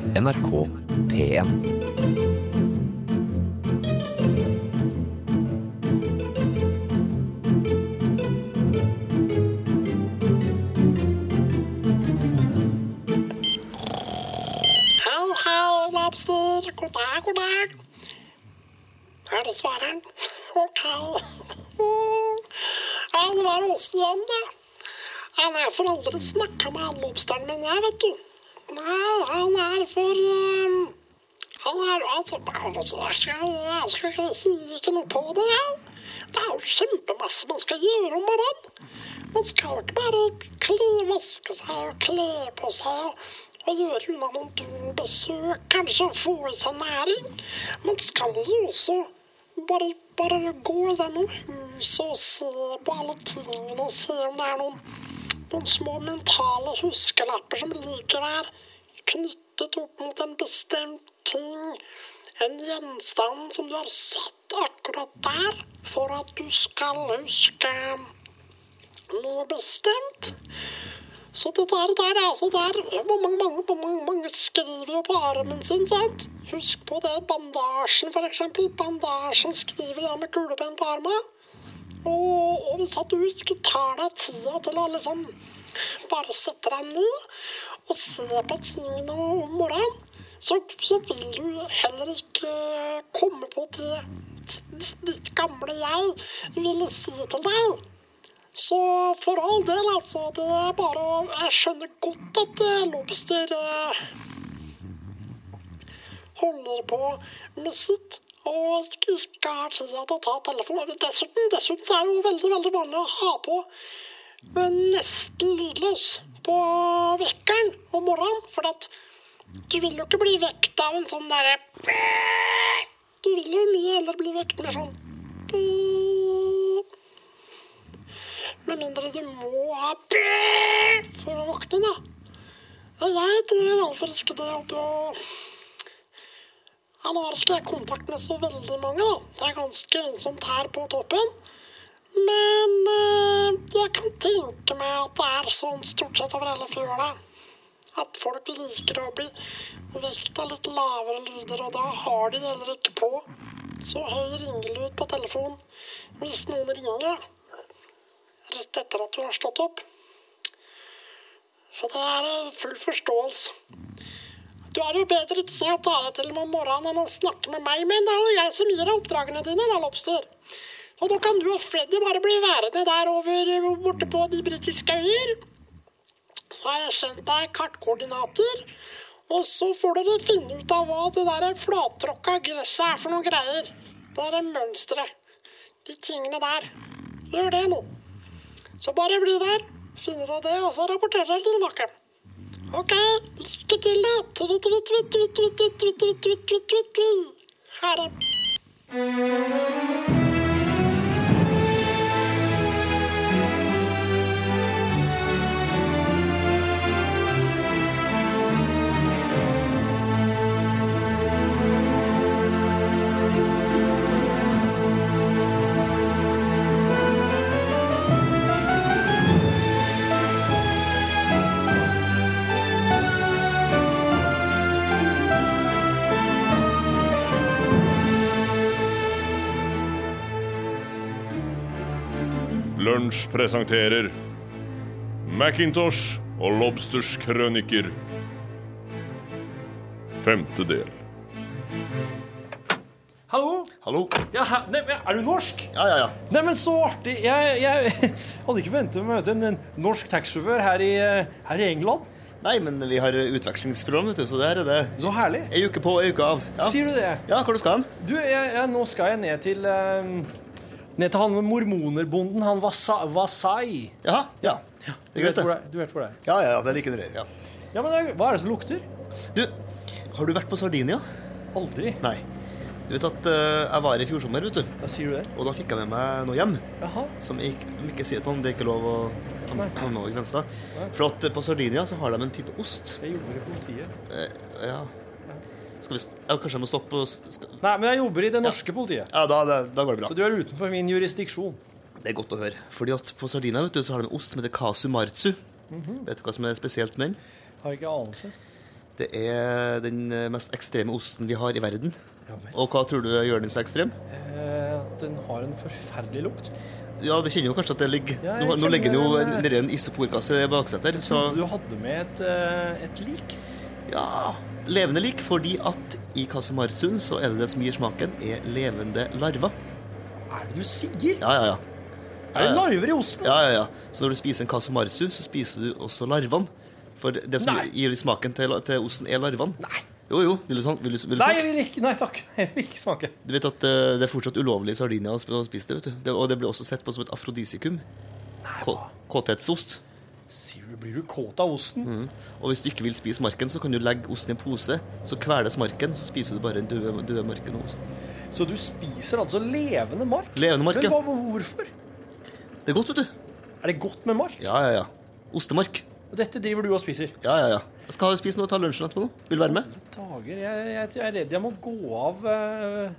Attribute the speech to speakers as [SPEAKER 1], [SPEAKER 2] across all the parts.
[SPEAKER 1] NRK P1.
[SPEAKER 2] Hei, hei, lobster. God dag, god dag. Er det svareren? Ok. Mm. Han var hos han, da. Han er for aldri snakka med han lobsteren min, jeg, vet du. Nei, han er for um, Han er altså altså, Jeg skal, jeg skal ikke si ikke noe på det, jeg. Det er jo kjempemasse man skal gjøre om morgenen. Man skal ikke bare kle, vaske seg og kle på seg og, og gjøre unna noen turbesøk, kanskje og få i seg næring. Man skal jo også bare, bare gå gjennom huset og se på alle tingene og se om det er noen, noen små mentale huskelapper som ligger der, knyttet opp mot en bestemt ting. En gjenstand som du har satt akkurat der, for at du skal huske noe bestemt. Så det der, der er altså der mange, mange, mange, mange skriver jo på armen sin, sant? Husk på det bandasjen, for eksempel. Bandasjen skriver jeg med kulepenn på armen. Og, og hvis at du ikke tar deg tida til å liksom bare sette deg ned og se på tingene om morgenen, så, så vil du heller ikke komme på det ditt- ditt gamle jeg ville si til deg. Så for all del, altså. Det er bare å Jeg skjønner godt at eh, Lobster eh, holder på med sitt og ikke har tid til å ta telefonen. Dessuten, dessuten så er det jo veldig, veldig vanlig å ha på eh, nesten lydløs på vekkeren om morgenen. For at du vil jo ikke bli vekt av en sånn derre Du vil jo mye heller bli vekt med sånn med mindre du må ha bæ for å våkne, da. Og jeg tror iallfall ikke det oppe og ja, Nå har ikke jeg kontakt med så veldig mange, da. Det er ganske ensomt her på toppen. Men eh, jeg kan tenke meg at det er sånn stort sett over hele fjøla. At folk liker å bli vekt av litt lavere lyder, og da har de heller ikke på så høy ringelyd på telefonen hvis noen ringer. da rett etter at du har stått opp. Så det er eh, full forståelse. Du har jo bedre ting å ta deg til om morgenen enn å snakke med meg, men det er jo jeg som gir deg oppdragene dine, da, Lobster. Og nå kan du og Freddy bare bli værende der over eh, borte på de britiske øyer. Så har jeg sendt deg kartkoordinater, og så får dere finne ut av hva det der flattråkka gresset er for noen greier. Det er mønsteret. De tingene der. Gjør det nå. Så bare bli der, finn ut av det, og så rapporterer jeg tilbake. OK, lykke til, da. Tvitt, tvitt, tvitt, tvitt, tvitt, tvitt, tvitt, tvitt, tvitt, tvitt, tvitt, tvitt. Ha det.
[SPEAKER 3] Lunsj presenterer Macintosh og Lobsters krøniker. Femte del.
[SPEAKER 4] Hallo?
[SPEAKER 5] Hallo.
[SPEAKER 4] Ja, hæ? Nei, men er du norsk?
[SPEAKER 5] Ja, ja, ja.
[SPEAKER 4] Nei, men så artig! Jeg, jeg hadde ikke ventet å møte en en norsk taxisjåfør her, i, eh, her i England.
[SPEAKER 5] Nei, men vi har utvekslingsprogram, vet du, så der er det
[SPEAKER 4] Så herlig.
[SPEAKER 5] ei uke på, ei uke av. Ja,
[SPEAKER 4] Sier du det?
[SPEAKER 5] ja hvor du skal hen?
[SPEAKER 4] Du, jeg, jeg, nå skal jeg ned til eh, Ned til han med mormonerbonden, han Wasa- Wasai.
[SPEAKER 5] Jaha, ja. Det
[SPEAKER 4] Du
[SPEAKER 5] er
[SPEAKER 4] vet,
[SPEAKER 5] greit,
[SPEAKER 4] hvor det
[SPEAKER 5] det.
[SPEAKER 4] er- du vet hvor det er.
[SPEAKER 5] Ja, ja, ja, det er like det der. Ja.
[SPEAKER 4] Ja, men det er- Hva er det som lukter?
[SPEAKER 5] Du, har du vært på Sardinia?
[SPEAKER 4] Aldri.
[SPEAKER 5] Nei. Du vet at eh, jeg var her i fjor sommer, vet du.
[SPEAKER 4] Ja, sier du det?
[SPEAKER 5] Og da fikk jeg med meg noe hjem
[SPEAKER 4] Jaha.
[SPEAKER 5] som jeg ikke, som ikke sier til noen. Det er ikke lov å
[SPEAKER 4] Nei.
[SPEAKER 5] komme over grensa. For at eh, på Sardinia så har de en type ost.
[SPEAKER 4] Jeg jobber i politiet.
[SPEAKER 5] Eh, ja. Skal vi s- ja, Kanskje jeg må stoppe og s- skal...
[SPEAKER 4] Nei, men jeg jobber i det norske politiet.
[SPEAKER 5] Ja, da, da, da går det bra.
[SPEAKER 4] Så du er utenfor min jurisdiksjon.
[SPEAKER 5] Det er godt å høre. Fordi at på Sardinia vet
[SPEAKER 4] Mhm.
[SPEAKER 5] du, så har de en ost som heter casu marzu. Vet du hva som er spesielt med den?
[SPEAKER 4] Har ikke anelse.
[SPEAKER 5] Det er den eh, mest ekstreme osten vi har i verden.
[SPEAKER 4] Ja vel.
[SPEAKER 5] Og hva tror du gjør den så ekstrem?
[SPEAKER 4] Eh, At den har en forferdelig lukt.
[SPEAKER 5] Ja, du kjenner jo kanskje at det ligger
[SPEAKER 4] Ja, jeg
[SPEAKER 5] Nå, nå
[SPEAKER 4] kjenner
[SPEAKER 5] ligger den jo
[SPEAKER 4] den, eh. Mm,
[SPEAKER 5] nedi en isoporkasse i baksetet her, så
[SPEAKER 4] Du hadde med et, eh, et lik.
[SPEAKER 5] Ja, levende lik, fordi at i Kasimarsund så er det det som gir smaken, er levende larver.
[SPEAKER 4] Hva er det du sier?
[SPEAKER 5] Ja, ja, ja.
[SPEAKER 4] Er det larver i osten?
[SPEAKER 5] ja, ja, ja. Så når du spiser en Kasimarsu, så spiser du også larvene. For det som
[SPEAKER 4] Nei.
[SPEAKER 5] gir smaken til, til osten, er larvene.
[SPEAKER 4] Nei.
[SPEAKER 5] Jo, jo. Vil du, sånn- vil du, vil du
[SPEAKER 4] Nei,
[SPEAKER 5] smake?
[SPEAKER 4] jeg vil ikke, nei takk. Jeg vil ikke smake.
[SPEAKER 5] Du vet at eh, det er fortsatt ulovlig i Sardinia å sp- å spise det, vet du. Det, og det ble også sett på som et afrodisikum. K- Kåthetsost.
[SPEAKER 4] Sier du, blir du kåt av osten?
[SPEAKER 5] Og hvis du ikke vil spise marken, så kan du legge osten i en pose. Så kveles marken, så spiser du bare den døde, døde marken og osten.
[SPEAKER 4] Så du spiser altså levende mark?
[SPEAKER 5] Levende mark,
[SPEAKER 4] Men
[SPEAKER 5] ja.
[SPEAKER 4] hva- hvorfor?
[SPEAKER 5] Det er godt, vet du.
[SPEAKER 4] Er det godt med mark?
[SPEAKER 5] Ja, ja, ja. Ostemark.
[SPEAKER 4] Og Dette driver du og spiser?
[SPEAKER 5] Ja, ja, ja. Jeg skal spise noe og ta lunsjen etterpå nå. Vil du være med?
[SPEAKER 4] Dager, jeg, jeg, jeg er redd jeg må gå av eh,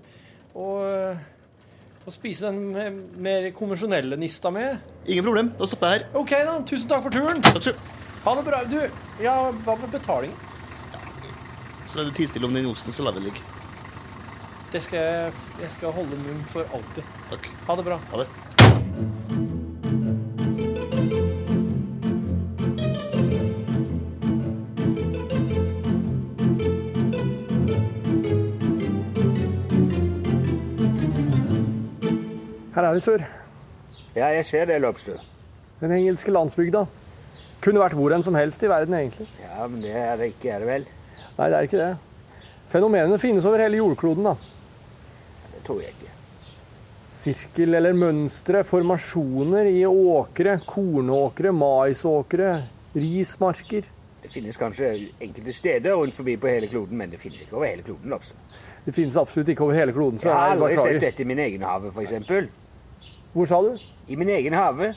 [SPEAKER 4] og, eh, og spise den me- mer konvensjonelle nista mi.
[SPEAKER 5] Ingen problem. Da stopper jeg her.
[SPEAKER 4] OK, da. Tusen takk for turen.
[SPEAKER 5] Takk skal du
[SPEAKER 4] Ha det bra. Du, ja, hva med betalingen?
[SPEAKER 5] Så er du tidsstille om den osten, så lar vi den ligge.
[SPEAKER 4] Det skal jeg, jeg skal holde munn for alltid.
[SPEAKER 5] Takk.
[SPEAKER 4] Ha det bra.
[SPEAKER 5] Ha det.
[SPEAKER 6] Her er vi, sør.
[SPEAKER 7] Ja, jeg ser det, Løpstø.
[SPEAKER 6] Den engelske landsbygda. Kunne vært hvor enn som helst i verden, egentlig.
[SPEAKER 7] Ja, men det er det ikke, er det vel?
[SPEAKER 6] Nei, det er ikke det. Fenomenene finnes over hele jordkloden, da.
[SPEAKER 7] Det tror jeg ikke.
[SPEAKER 6] Sirkel eller mønstre, formasjoner i åkre, kornåkre, maisåkre, rismarker.
[SPEAKER 7] Det finnes kanskje enkelte steder rundt forbi på hele kloden, men det finnes ikke over hele kloden, Løpstø.
[SPEAKER 6] Det finnes absolutt ikke over hele kloden, så
[SPEAKER 7] Jeg har
[SPEAKER 6] her
[SPEAKER 7] aldri sett
[SPEAKER 6] beklager.
[SPEAKER 7] dette i min egen have, for eksempel.
[SPEAKER 6] Hvor sa du?
[SPEAKER 7] I min egen have?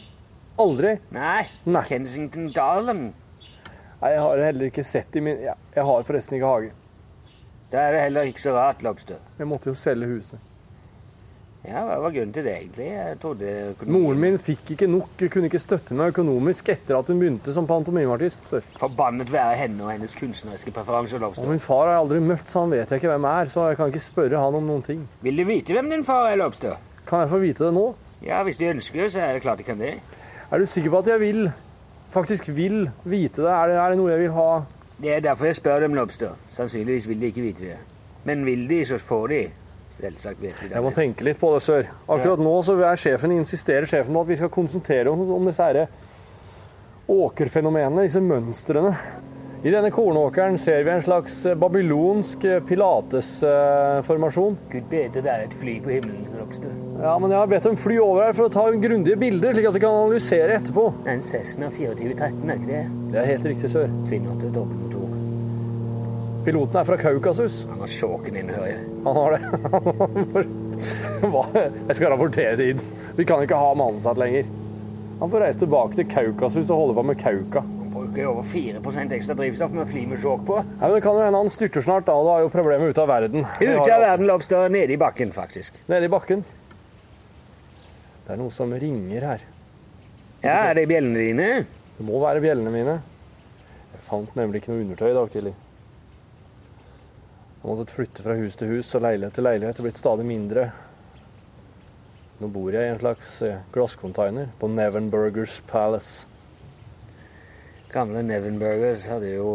[SPEAKER 6] Aldri?
[SPEAKER 7] Nei.
[SPEAKER 6] Nei.
[SPEAKER 7] Kensington Dalen.
[SPEAKER 6] Nei, jeg har heller ikke sett i min ja, Jeg har forresten ikke hage.
[SPEAKER 7] Da er det heller ikke så rart, Løpstø.
[SPEAKER 6] Jeg måtte jo selge huset.
[SPEAKER 7] Ja, hva var grunnen til det, egentlig? Jeg trodde økonomien-
[SPEAKER 6] Moren min fikk ikke nok, kunne ikke støtte meg økonomisk etter at hun begynte som pantomimeartist. sør.
[SPEAKER 7] Forbannet være henne og hennes kunstneriske preferanser,
[SPEAKER 6] Og
[SPEAKER 7] Løpstø.
[SPEAKER 6] min far har jeg aldri møtt, så han vet jeg ikke hvem er. Så jeg kan ikke spørre han om noen ting.
[SPEAKER 7] Vil du vite hvem din far er, Løpstø?
[SPEAKER 6] Kan jeg få vite det nå?
[SPEAKER 7] Ja, hvis de ønsker, så er det klart de kan det.
[SPEAKER 6] Er du sikker på at jeg vil, faktisk vil vite det? Er det, er det noe jeg vil ha?
[SPEAKER 7] Det er derfor jeg spør dem, Lobster. Sannsynligvis vil de ikke vite det. Men vil de, så får de. Selvsagt vet de det.
[SPEAKER 6] Jeg må tenke litt på det, sør. Akkurat nå så er sjefen, insisterer sjefen på at vi skal konsentrere oss om disse herre åkerfenomenene, disse mønstrene. I denne kornåkeren ser vi en slags eh, babylonsk eh, pilates-formasjon.
[SPEAKER 7] Gud bedre det er et fly på himmelen, Lobster.
[SPEAKER 6] Ja, men jeg har bedt dem fly over her for å ta grundige bilder, slik at vi kan analysere etterpå.
[SPEAKER 7] Det er en Cessna 2413, er ikke det?
[SPEAKER 6] Det er helt riktig, sør.
[SPEAKER 7] Tvinnåtte dobbeltmotor.
[SPEAKER 6] Piloten er fra Kaukasus.
[SPEAKER 7] Han har sjåken inne, hører jeg.
[SPEAKER 6] Han har det. Hva? Jeg skal rapportere det inn. Vi kan ikke ha ham ansatt lenger. Han får reise tilbake til Kaukasus og holde på med Kauka.
[SPEAKER 7] Han bruker jo over 4 ekstra drivstoff med fly med sjåk på.
[SPEAKER 6] Nei, men Det kan jo hende han styrter snart, da. og Da er jo problemet ute av verden. Vi har
[SPEAKER 7] Ute
[SPEAKER 6] jo-
[SPEAKER 7] av verden, Lobster. Nede i bakken, faktisk.
[SPEAKER 6] Nede i bakken. Det er noe som ringer her.
[SPEAKER 7] Ja, er det bjellene dine?
[SPEAKER 6] Det må være bjellene mine. Jeg fant nemlig ikke noe undertøy i dag tidlig. Jeg måtte flytte fra hus til hus og leilighet til leilighet. Det er blitt stadig mindre. Nå bor jeg i en slags eh, glasscontainer på Nevenburgers Palace.
[SPEAKER 7] Gamle Nevenburgers hadde jo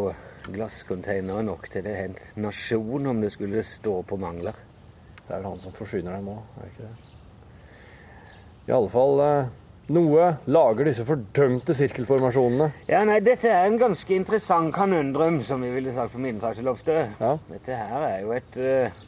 [SPEAKER 7] glasscontainere nok til det hendt nasjon om det skulle stå på mangler.
[SPEAKER 6] Det er vel han som forsyner dem òg, er det ikke det? I alle fall eh, noe lager disse fordømte sirkelformasjonene.
[SPEAKER 7] Ja, nei, dette er en ganske interessant kanundrum, som vi ville sagt på Minnetaksjelobstø.
[SPEAKER 6] Ja.
[SPEAKER 7] Dette her er jo et eh,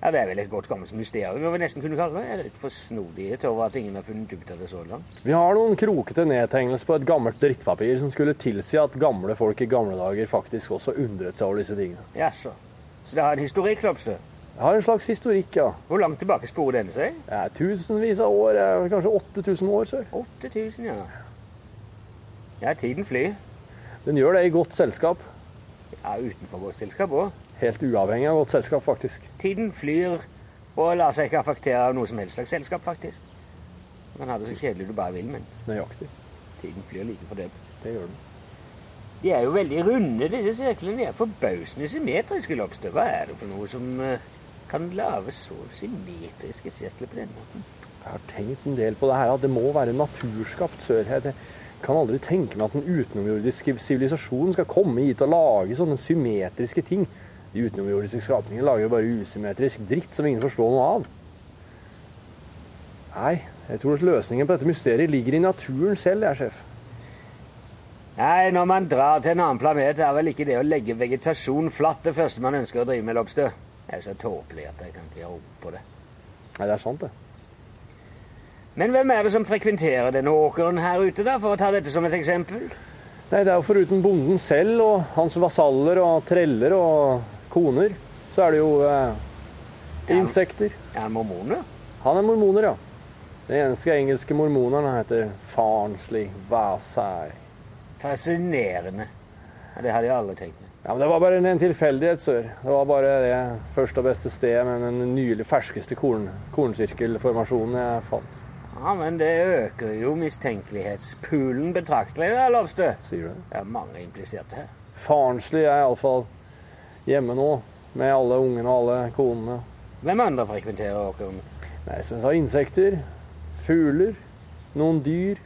[SPEAKER 7] Ja, det er vel et godt gammelt mysterium, må vi nesten kunne kalle det. Jeg er litt for snodighet over at ingen har funnet ut av det så langt.
[SPEAKER 6] Vi har noen krokete nedtegnelser på et gammelt drittpapir som skulle tilsi at gamle folk i gamle dager faktisk også undret seg over disse tingene.
[SPEAKER 7] Jaså. Så det har en historikk, Lobstø.
[SPEAKER 6] Jeg har en slags historikk, ja.
[SPEAKER 7] Hvor langt tilbake sporer denne seg?
[SPEAKER 6] Jeg er tusenvis av år, jeg er kanskje 8000 år sør.
[SPEAKER 7] 8000, ja. Ja, tiden flyr.
[SPEAKER 6] Den gjør det i godt selskap.
[SPEAKER 7] Ja, utenfor vårt selskap òg.
[SPEAKER 6] Helt uavhengig av godt selskap, faktisk.
[SPEAKER 7] Tiden flyr og lar seg ikke affektere av noe som helst slags selskap, faktisk. Man har det så kjedelig du bare vil, men
[SPEAKER 6] Nøyaktig.
[SPEAKER 7] tiden flyr like for det.
[SPEAKER 6] Det gjør den.
[SPEAKER 7] De er jo veldig runde, disse sirklene. De er forbausende symmetriske lobster. Hva er det for noe som eh, kan lage så symmetriske sirkler på den måten?
[SPEAKER 6] Jeg har tenkt en del på det her, at det må være naturskapt sørhet. Jeg kan aldri tenke meg at en utenomjordisk sivilisasjon skal komme hit og lage sånne symmetriske ting. De utenomjordiske skapningene lager jo bare usymmetrisk dritt som ingen forstår noe av. Nei, jeg tror at løsningen på dette mysteriet ligger i naturen selv, jeg, sjef.
[SPEAKER 7] Nei, når man drar til en annen planet, er vel ikke det å legge vegetasjon flatt det første man ønsker å drive med lobster. Jeg er så tåpelig at jeg kan ikke gjøre opp på det.
[SPEAKER 6] Nei, det er sant, det.
[SPEAKER 7] Men hvem er det som frekventerer denne åkeren her ute, da, for å ta dette som et eksempel?
[SPEAKER 6] Nei, det er jo foruten bonden selv og hans vasaller og treller og koner, så er det jo eh, insekter.
[SPEAKER 7] Er han mormoner?
[SPEAKER 6] Han er mormoner, ja. Den eneste engelske mormoneren han heter Farnsley Vasai.
[SPEAKER 7] Fascinerende. Ja, det hadde jeg aldri tenkt meg.
[SPEAKER 6] Ja, men Det var bare en- en tilfeldighet, sør. Det var bare det første og beste stedet med den nylig ferskeste korn, kornsirkelformasjonen jeg fant.
[SPEAKER 7] Ja, men det øker jo mistenkelighetspoolen betraktelig, da, Lobstø.
[SPEAKER 6] Sier du det?
[SPEAKER 7] Det er mange impliserte her.
[SPEAKER 6] Farnsley er iallfall hjemme nå, med alle ungene og alle konene.
[SPEAKER 7] Hvem andre frekventerer åkeren?
[SPEAKER 6] Nei, som jeg sa, insekter, fugler, noen dyr,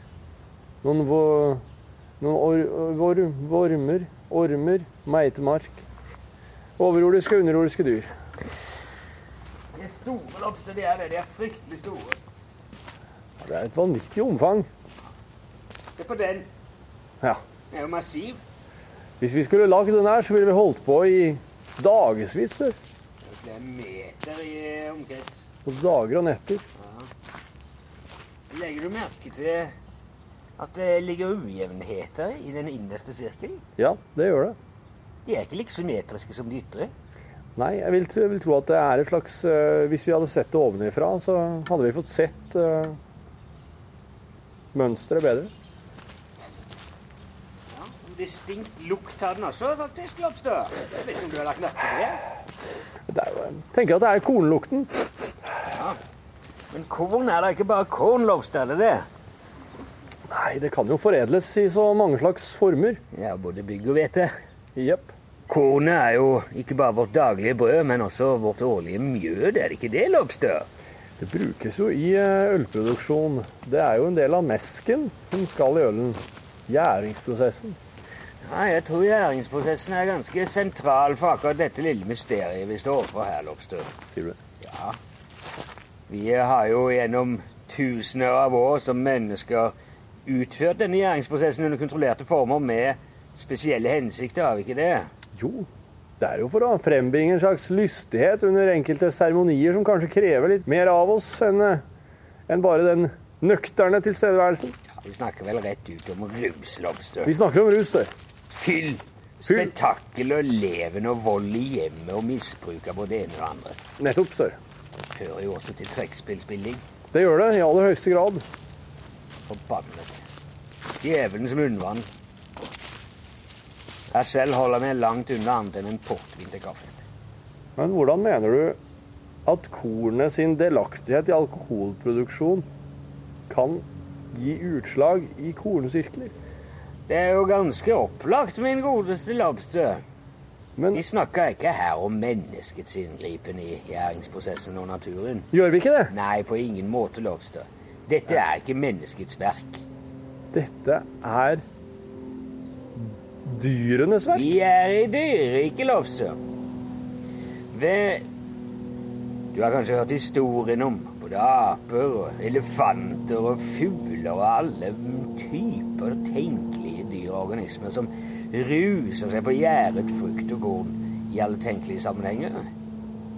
[SPEAKER 6] noen, vo, noen or, vor, vormer, ormer, meitemark. Overjordiske og underjordiske dyr.
[SPEAKER 7] De er store, Lobstø. De er det. De er fryktelig store.
[SPEAKER 6] Ja, Det er et vanvittig omfang.
[SPEAKER 7] Se på den.
[SPEAKER 6] Ja.
[SPEAKER 7] Den er jo massiv.
[SPEAKER 6] Hvis vi skulle lagd den her, så ville vi holdt på i dagevis. sør.
[SPEAKER 7] Det er meter i eh, omkrets.
[SPEAKER 6] Og dager og netter.
[SPEAKER 7] Legger du merke til at det ligger ujevnheter i den innerste sirkelen?
[SPEAKER 6] Ja, det gjør det.
[SPEAKER 7] De er ikke like symmetriske som de ytre.
[SPEAKER 6] Nei, jeg vil, jeg vil tro at det er et slags eh, Hvis vi hadde sett det ovenifra, så hadde vi fått sett uh, mønsteret bedre.
[SPEAKER 7] Ja, og Distinkt lukt har den også, faktisk, Lobstø. Jeg vet ikke om du har lagt merke til det.
[SPEAKER 6] Det er jo, jeg tenker at det er kornlukten.
[SPEAKER 7] Men korn er da ikke bare korn, Lobstø, er det det?
[SPEAKER 6] Nei, det kan jo foredles i så mange slags former.
[SPEAKER 7] Ja, både bygg og hvete.
[SPEAKER 6] Jepp.
[SPEAKER 7] Kornet er jo ikke bare vårt daglige brød, men også vårt årlige mjød, er det ikke det, Lobstø?
[SPEAKER 6] Det brukes jo i eh, ølproduksjon. Det er jo en del av mesken som skal i ølen. Gjæringsprosessen.
[SPEAKER 7] Ja, jeg tror gjæringsprosessen er ganske sentral for akkurat dette lille mysteriet vi står overfor her, Lobstø.
[SPEAKER 6] Sier du det?
[SPEAKER 7] Ja. Vi har jo gjennom tusener av år som mennesker utført denne gjæringsprosessen under kontrollerte former med spesielle hensikter, har vi ikke det?
[SPEAKER 6] Jo. Det er jo for å frembringe en slags lystighet under enkelte seremonier som kanskje krever litt mer av oss enn eh, enn bare den nøkterne tilstedeværelsen.
[SPEAKER 7] Ja, vi snakker vel rett ut om ruslobster.
[SPEAKER 6] Vi snakker om rus, det.
[SPEAKER 7] Fyll, spetakkel og leven og vold i hjemmet og misbruk av både det ene og det andre.
[SPEAKER 6] Nettopp, sør.
[SPEAKER 7] Fører jo også til trekkspillspilling.
[SPEAKER 6] Det gjør det, i aller høyeste grad.
[SPEAKER 7] Forbannet. Djevelens munnvann. Jeg selv holder meg langt unna annet enn en portvin til kaffen.
[SPEAKER 6] Men hvordan mener du at kornet sin delaktighet i alkoholproduksjon kan gi utslag i kornsirkler?
[SPEAKER 7] Det er jo ganske opplagt, min godeste Lobstø.
[SPEAKER 6] Men
[SPEAKER 7] Vi snakker ikke her om menneskets inngripen i gjæringsprosessen og naturen.
[SPEAKER 6] gjør vi ikke det?
[SPEAKER 7] Nei, på ingen måte, Lobstø. Dette er ikke menneskets verk.
[SPEAKER 6] Dette er dyrenes verk.
[SPEAKER 7] Vi er i dyreriket, Lobstø. Ved Du har kanskje hørt historien om både aper og elefanter og fugler og alle typer tenkelige dyr og organismer som ruser seg på gjæret frukt og korn i alle tenkelige sammenhenger.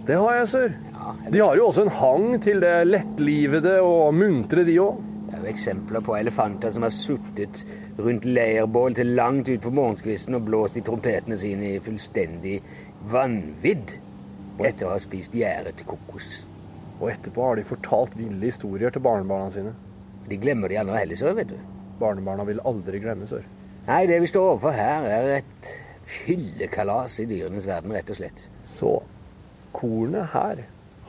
[SPEAKER 6] Det har jeg, sør.
[SPEAKER 7] Ja,
[SPEAKER 6] De har jo også en hang til det lettlivede og muntre, de òg.
[SPEAKER 7] Det er jo eksempler på elefanter som har suttet rundt leirbål til langt ut på morgenskvisten og blåst i trompetene sine i fullstendig vanvidd etter å ha spist gjæret kokos.
[SPEAKER 6] Og etterpå har de fortalt ville historier til barnebarna sine.
[SPEAKER 7] De glemmer de andre heller, så, vet du.
[SPEAKER 6] Barnebarna vil aldri glemme, sør.
[SPEAKER 7] Nei, det vi står overfor her, er et fyllekalas i dyrenes verden, rett og slett.
[SPEAKER 6] Så kornet her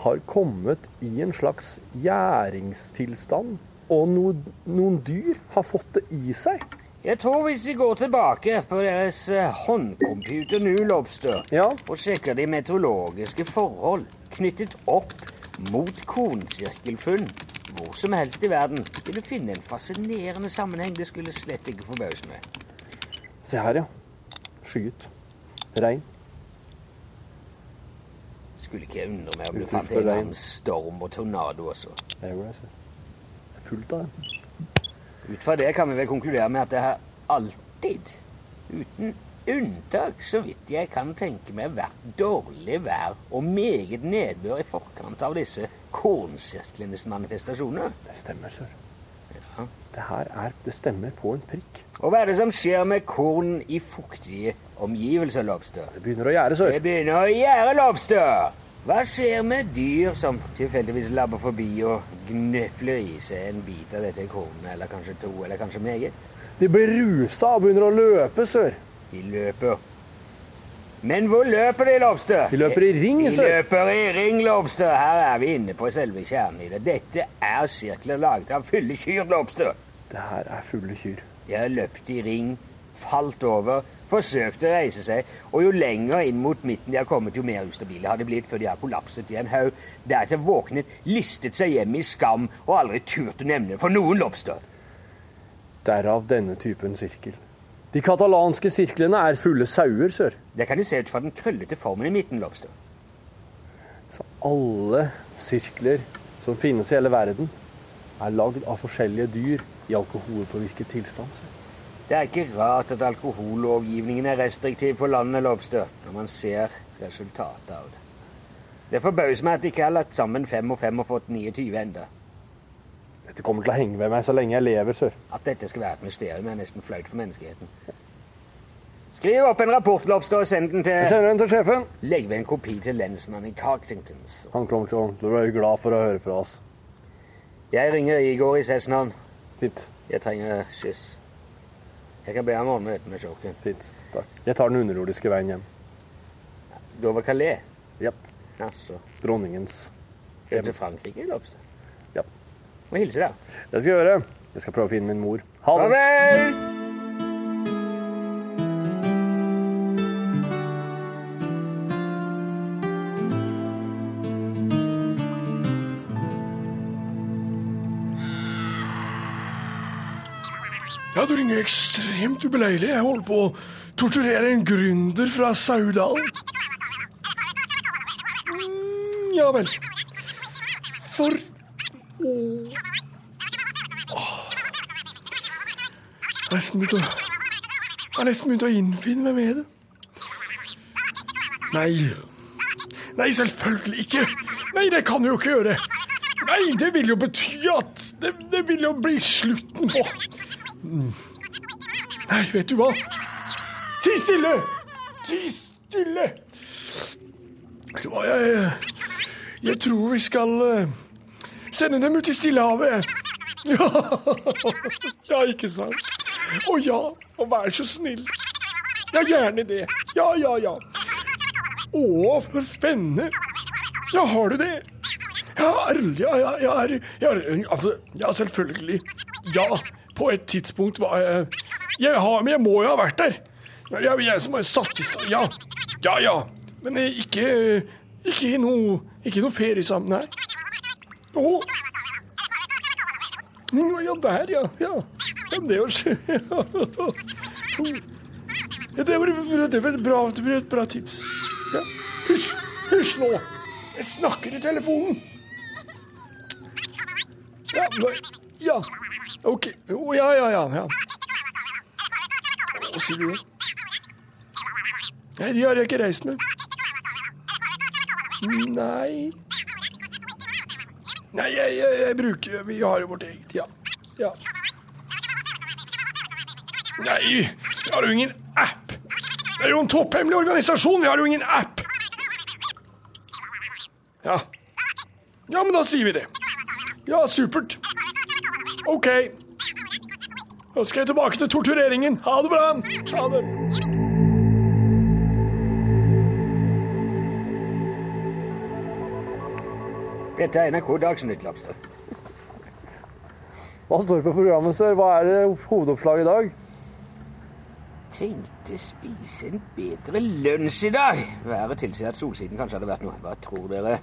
[SPEAKER 6] har kommet i en slags gjæringstilstand, og no, noen dyr har fått det i seg.
[SPEAKER 7] Jeg tror hvis de går tilbake på deres eh, håndcomputer New Lobster
[SPEAKER 6] Ja.
[SPEAKER 7] og sjekker de meteorologiske forhold knyttet opp mot kornsirkelfunn hvor som helst i verden, vil du finne en fascinerende sammenheng. Det skulle slett ikke forbause meg.
[SPEAKER 6] Se her, ja. Skyet. Regn.
[SPEAKER 7] Skulle ikke jeg undre meg om det
[SPEAKER 6] Uttrykk
[SPEAKER 7] fant
[SPEAKER 6] for
[SPEAKER 7] en eller
[SPEAKER 6] deg.
[SPEAKER 7] annen storm og tornado også.
[SPEAKER 6] Det er jo det, se. Det er fullt av det.
[SPEAKER 7] Ut fra det kan vi vel konkludere med at det har alltid, uten unntak, så vidt jeg kan tenke meg, vært dårlig vær og meget nedbør i forkant av disse kornsirklenes manifestasjoner.
[SPEAKER 6] Det stemmer, sør. Det her er Det stemmer på en prikk.
[SPEAKER 7] Og hva er det som skjer med korn i fuktige omgivelser, Lobster?
[SPEAKER 6] Det begynner å gjære, sør.
[SPEAKER 7] Det begynner å gjære, Lobster! Hva skjer med dyr som tilfeldigvis labber forbi og gnøfler i seg en bit av dette kornet, eller kanskje to, eller kanskje meget?
[SPEAKER 6] De blir rusa og begynner å løpe, sør.
[SPEAKER 7] De løper. Men hvor løper de, Lobster?
[SPEAKER 6] De løper i ring,
[SPEAKER 7] De
[SPEAKER 6] sir.
[SPEAKER 7] løper i ring, Lobster. Her er vi inne på selve kjernen i det. Dette er sirkler laget av fulle kyr, Lobster.
[SPEAKER 6] Det her er fulle kyr.
[SPEAKER 7] De har løpt i ring, falt over, forsøkt å reise seg, og jo lenger inn mot midten de har kommet, jo mer ustabile har de blitt før de har kollapset i en haug, deretter våknet, listet seg hjem i skam og aldri turt å nevne for noen Lobster.
[SPEAKER 6] Derav denne typen sirkel. De katalanske sirklene er fulle sauer, sør.
[SPEAKER 7] Det kan de se ut fra den krøllete formen i midten, Lobster.
[SPEAKER 6] Så alle sirkler som finnes i hele verden, er lagd av forskjellige dyr i alkoholpåvirket tilstand. sør.
[SPEAKER 7] Det er ikke rart at alkohollovgivningen er restriktiv på landet Lobster, når man ser resultatet av det. Det forbauser meg at de ikke har lagt sammen fem og fem og fått 29 enda.
[SPEAKER 6] Dette kommer til å henge ved meg så lenge jeg lever, sør.
[SPEAKER 7] At dette skal være et mysterium, er nesten flaut for menneskeheten. Skriv opp en rapport, Lobster, og send den
[SPEAKER 6] Jeg
[SPEAKER 7] til
[SPEAKER 6] sender den til sjefen.
[SPEAKER 7] Legg ved en kopi til lensmannen i Carktingtons.
[SPEAKER 6] Han kommer til å til å være glad for å høre fra oss.
[SPEAKER 7] Jeg ringer Igor i Cessnaen.
[SPEAKER 6] Fint.
[SPEAKER 7] Jeg trenger skyss. Jeg kan be ham ordne dette med sjokken.
[SPEAKER 6] Fint. Takk. Jeg tar den underjordiske veien hjem.
[SPEAKER 7] Dover Calais.
[SPEAKER 6] Japp.
[SPEAKER 7] Altså,
[SPEAKER 6] Dronningens.
[SPEAKER 7] Hjem til Frankrike, Lobster.
[SPEAKER 6] Ja.
[SPEAKER 7] Må hilse der.
[SPEAKER 6] Det skal jeg gjøre. Jeg skal prøve å finne min mor. Ha det.
[SPEAKER 7] Farvel!
[SPEAKER 8] Ja, du ringer ekstremt ubeleilig. Jeg holder på å torturere en gründer fra Saudal. Mm, ja vel. For Åh. Jeg har nesten begynt å Jeg har nesten begynt å innfinne meg med det. Nei. Nei, selvfølgelig ikke. Nei, det kan du jo ikke gjøre. Nei, det vil jo bety at Det, det vil jo bli slutten på Nei, vet du hva? Ti stille! Ti stille! Vet du hva, jeg Jeg tror vi skal eh, sende dem ut i Stillehavet. Ja. ja, ikke sant? Å ja, og vær så snill. Ja, gjerne det. Ja, ja, ja. Å, for spennende. Ja, har du det? Ja, ærlig, ja, ja, ja, er- ja, altså, ja, selvfølgelig. Ja, på et tidspunkt var jeg Jeg, har, men jeg må jo ha vært der. Ja, Jeg, jeg som har satt i stand Ja, ja. ja. Men eh, ikke Ikke i noe, ikke i noe feriesammenheng. Å. Jo, Ja, der, ja. Ja, ja det var skje- ja, det var, det var et, bra, det var et bra tips. Ja. Hysj, hysj nå. Jeg snakker i telefonen. Ja, nå, ja. Ok. Å, ja, ja, ja. ja. Hva sier du? Nei, de har jeg ikke reist med. Nei Nei, jeg, jeg, jeg bruker Vi har jo vårt eget, ja. ja. Nei, vi har jo ingen app! Det er jo en topphemmelig organisasjon! Vi har jo ingen app! Ja. Ja, men da sier vi det. Ja, supert. Ok. Da skal jeg tilbake til tortureringen. Ha det bra. Ha det.
[SPEAKER 7] Dette er NRK Dagsnytt, Lapstad.
[SPEAKER 6] Hva står på programmet, sør? Hva er det hovedoppslaget i dag?
[SPEAKER 7] tenkte spise en bedre lunsj i dag. Været tilsier at solsiden kanskje hadde vært noe. Hva tror dere?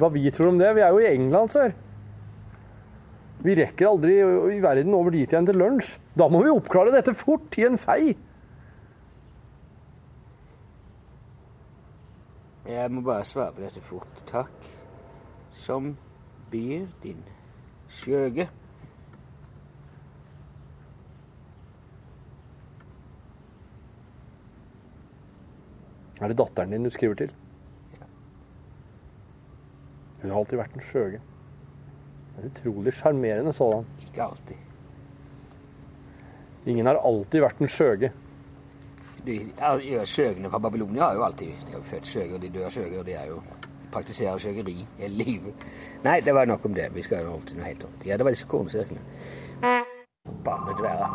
[SPEAKER 6] Hva vi tror om det? Vi er jo i England, sør. Vi rekker aldri i verden over dit igjen til lunsj. Da må vi oppklare dette fort, i en fei.
[SPEAKER 7] Jeg må bare svare på dette fort, takk. Som byr din skjøge.
[SPEAKER 6] Er det datteren din du skriver til? Hun har alltid vært en skjøge. En utrolig sjarmerende sådan.
[SPEAKER 7] Ikke alltid.
[SPEAKER 6] Ingen har alltid vært en skjøge.
[SPEAKER 7] Du, al- ja, skjøgene fra Babylonia har jo alltid De er jo født skjøger, de dør skjøger, de er jo praktiserer skjøgeri hele livet. Nei, det var nok om det. Vi skal jo over til noe helt annet. Ja, det var disse kornsirklene. Forbannet være.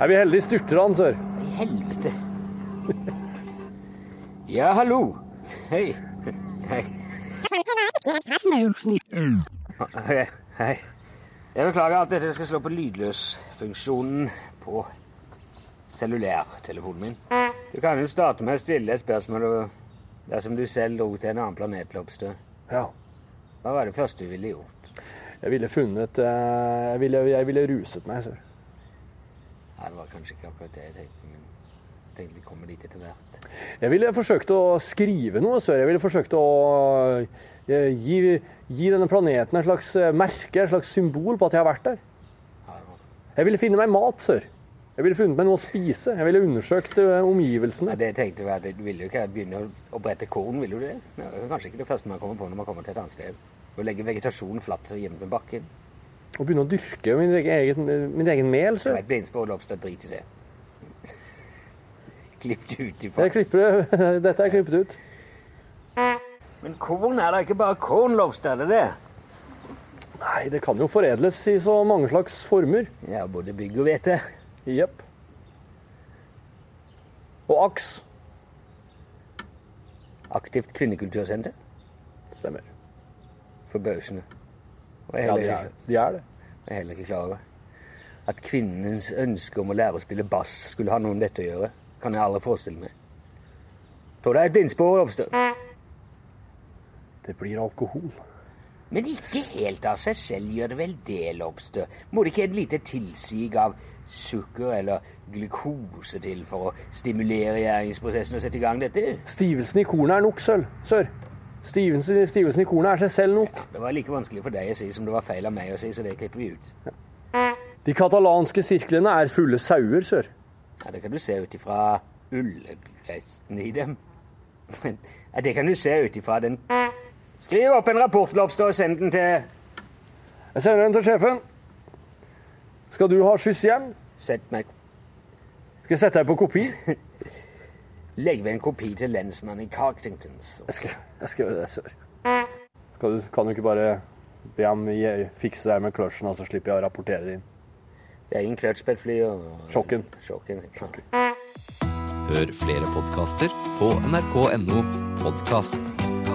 [SPEAKER 6] Er vi heldige, styrter han, sør.
[SPEAKER 7] I helvete. Ja, hallo. Hei. Hei. Hei. Hei. Jeg beklager at dette skal slå på lydløsfunksjonen på cellulærtelefonen min. Du kan jo starte med å stille et spørsmål og- dersom du selv dro til en annen planet, Lobster.
[SPEAKER 6] Ja.
[SPEAKER 7] Hva var det første du ville gjort?
[SPEAKER 6] Jeg ville funnet eh, Jeg ville, jeg ville ruset meg, sør.
[SPEAKER 7] Ja, det var kanskje ikke akkurat det jeg tenkte, men jeg tenkte vi kommer dit etter hvert.
[SPEAKER 6] Jeg ville forsøkt å skrive noe, sør. Jeg ville forsøkt å eh, gi, gi denne planeten et slags eh, merke, et slags symbol på at jeg har vært der.
[SPEAKER 7] Ja, det var-
[SPEAKER 6] Jeg ville finne meg mat, sør. Jeg ville funnet meg noe å spise. Jeg ville undersøkt eh, omgivelsene.
[SPEAKER 7] Ja, det jeg tenkte var at Du ville jo ikke begynne å- å brette korn, ville du det? Det er kanskje ikke det første man kommer på når man kommer til et annet sted. Å legge vegetasjonen flatt og gjemme med bakken.
[SPEAKER 6] Og begynne å dyrke min egen, min egen mel,
[SPEAKER 7] Det
[SPEAKER 6] sør.
[SPEAKER 7] var et blindspor, Lobster. Drit i det. Klipp det ut i
[SPEAKER 6] Jeg
[SPEAKER 7] fasen.
[SPEAKER 6] klipper, det- dette er klippet ut.
[SPEAKER 7] Men korn er da ikke bare korn, Lobster? Er det det?
[SPEAKER 6] Nei, det kan jo foredles i så mange slags former.
[SPEAKER 7] Ja, både bygg og hvete.
[SPEAKER 6] Jepp. Og aks.
[SPEAKER 7] Aktivt kvinnekultursenter.
[SPEAKER 6] Stemmer.
[SPEAKER 7] Forbausende. Og jeg
[SPEAKER 6] Ja,
[SPEAKER 7] er
[SPEAKER 6] de
[SPEAKER 7] heller,
[SPEAKER 6] er,
[SPEAKER 7] ikke-
[SPEAKER 6] de er det.
[SPEAKER 7] jeg er heller ikke klar over at kvinnens ønske om å lære å spille bass skulle ha noe med dette å gjøre. Kan jeg aldri forestille meg. Tror det er et blindspor, Lobster.
[SPEAKER 6] Det blir alkohol.
[SPEAKER 7] Men ikke helt av seg selv gjør det vel det, Lobster? Må det ikke et lite tilsig av sukker eller glukose til for å stimulere gjæringsprosessen og sette i gang dette?
[SPEAKER 6] Stivelsen i kornet er nok, sølv. Sør. Stivelsen, stivelsen i kornet er seg selv nok.
[SPEAKER 7] Det var like vanskelig for deg å si som det var feil av meg å si, så det klipper vi ut.
[SPEAKER 6] De katalanske sirklene er fulle sauer, sør.
[SPEAKER 7] Ja, det kan du se ut ifra ullgeistene i dem. Ja, det kan du se ut ifra den Skriv opp en rapport, Lobster, og send den til
[SPEAKER 6] Jeg sender den til sjefen. Skal du ha skyss hjem?
[SPEAKER 7] Sett meg
[SPEAKER 6] Skal jeg sette deg på kopi? Jeg
[SPEAKER 7] Legg ved en kopi til lensmannen i Carktington. så-
[SPEAKER 6] skal, jeg skal gjøre det, sør. Skal du, kan du ikke bare be ham gi- fikse deg med kløtsjen, og så slipper jeg å rapportere det inn?
[SPEAKER 7] Det er ingen clutch på et fly og
[SPEAKER 6] Sjokken.
[SPEAKER 7] Sjokken. Sjokken.
[SPEAKER 1] Hør flere podkaster på nrk.no podkast.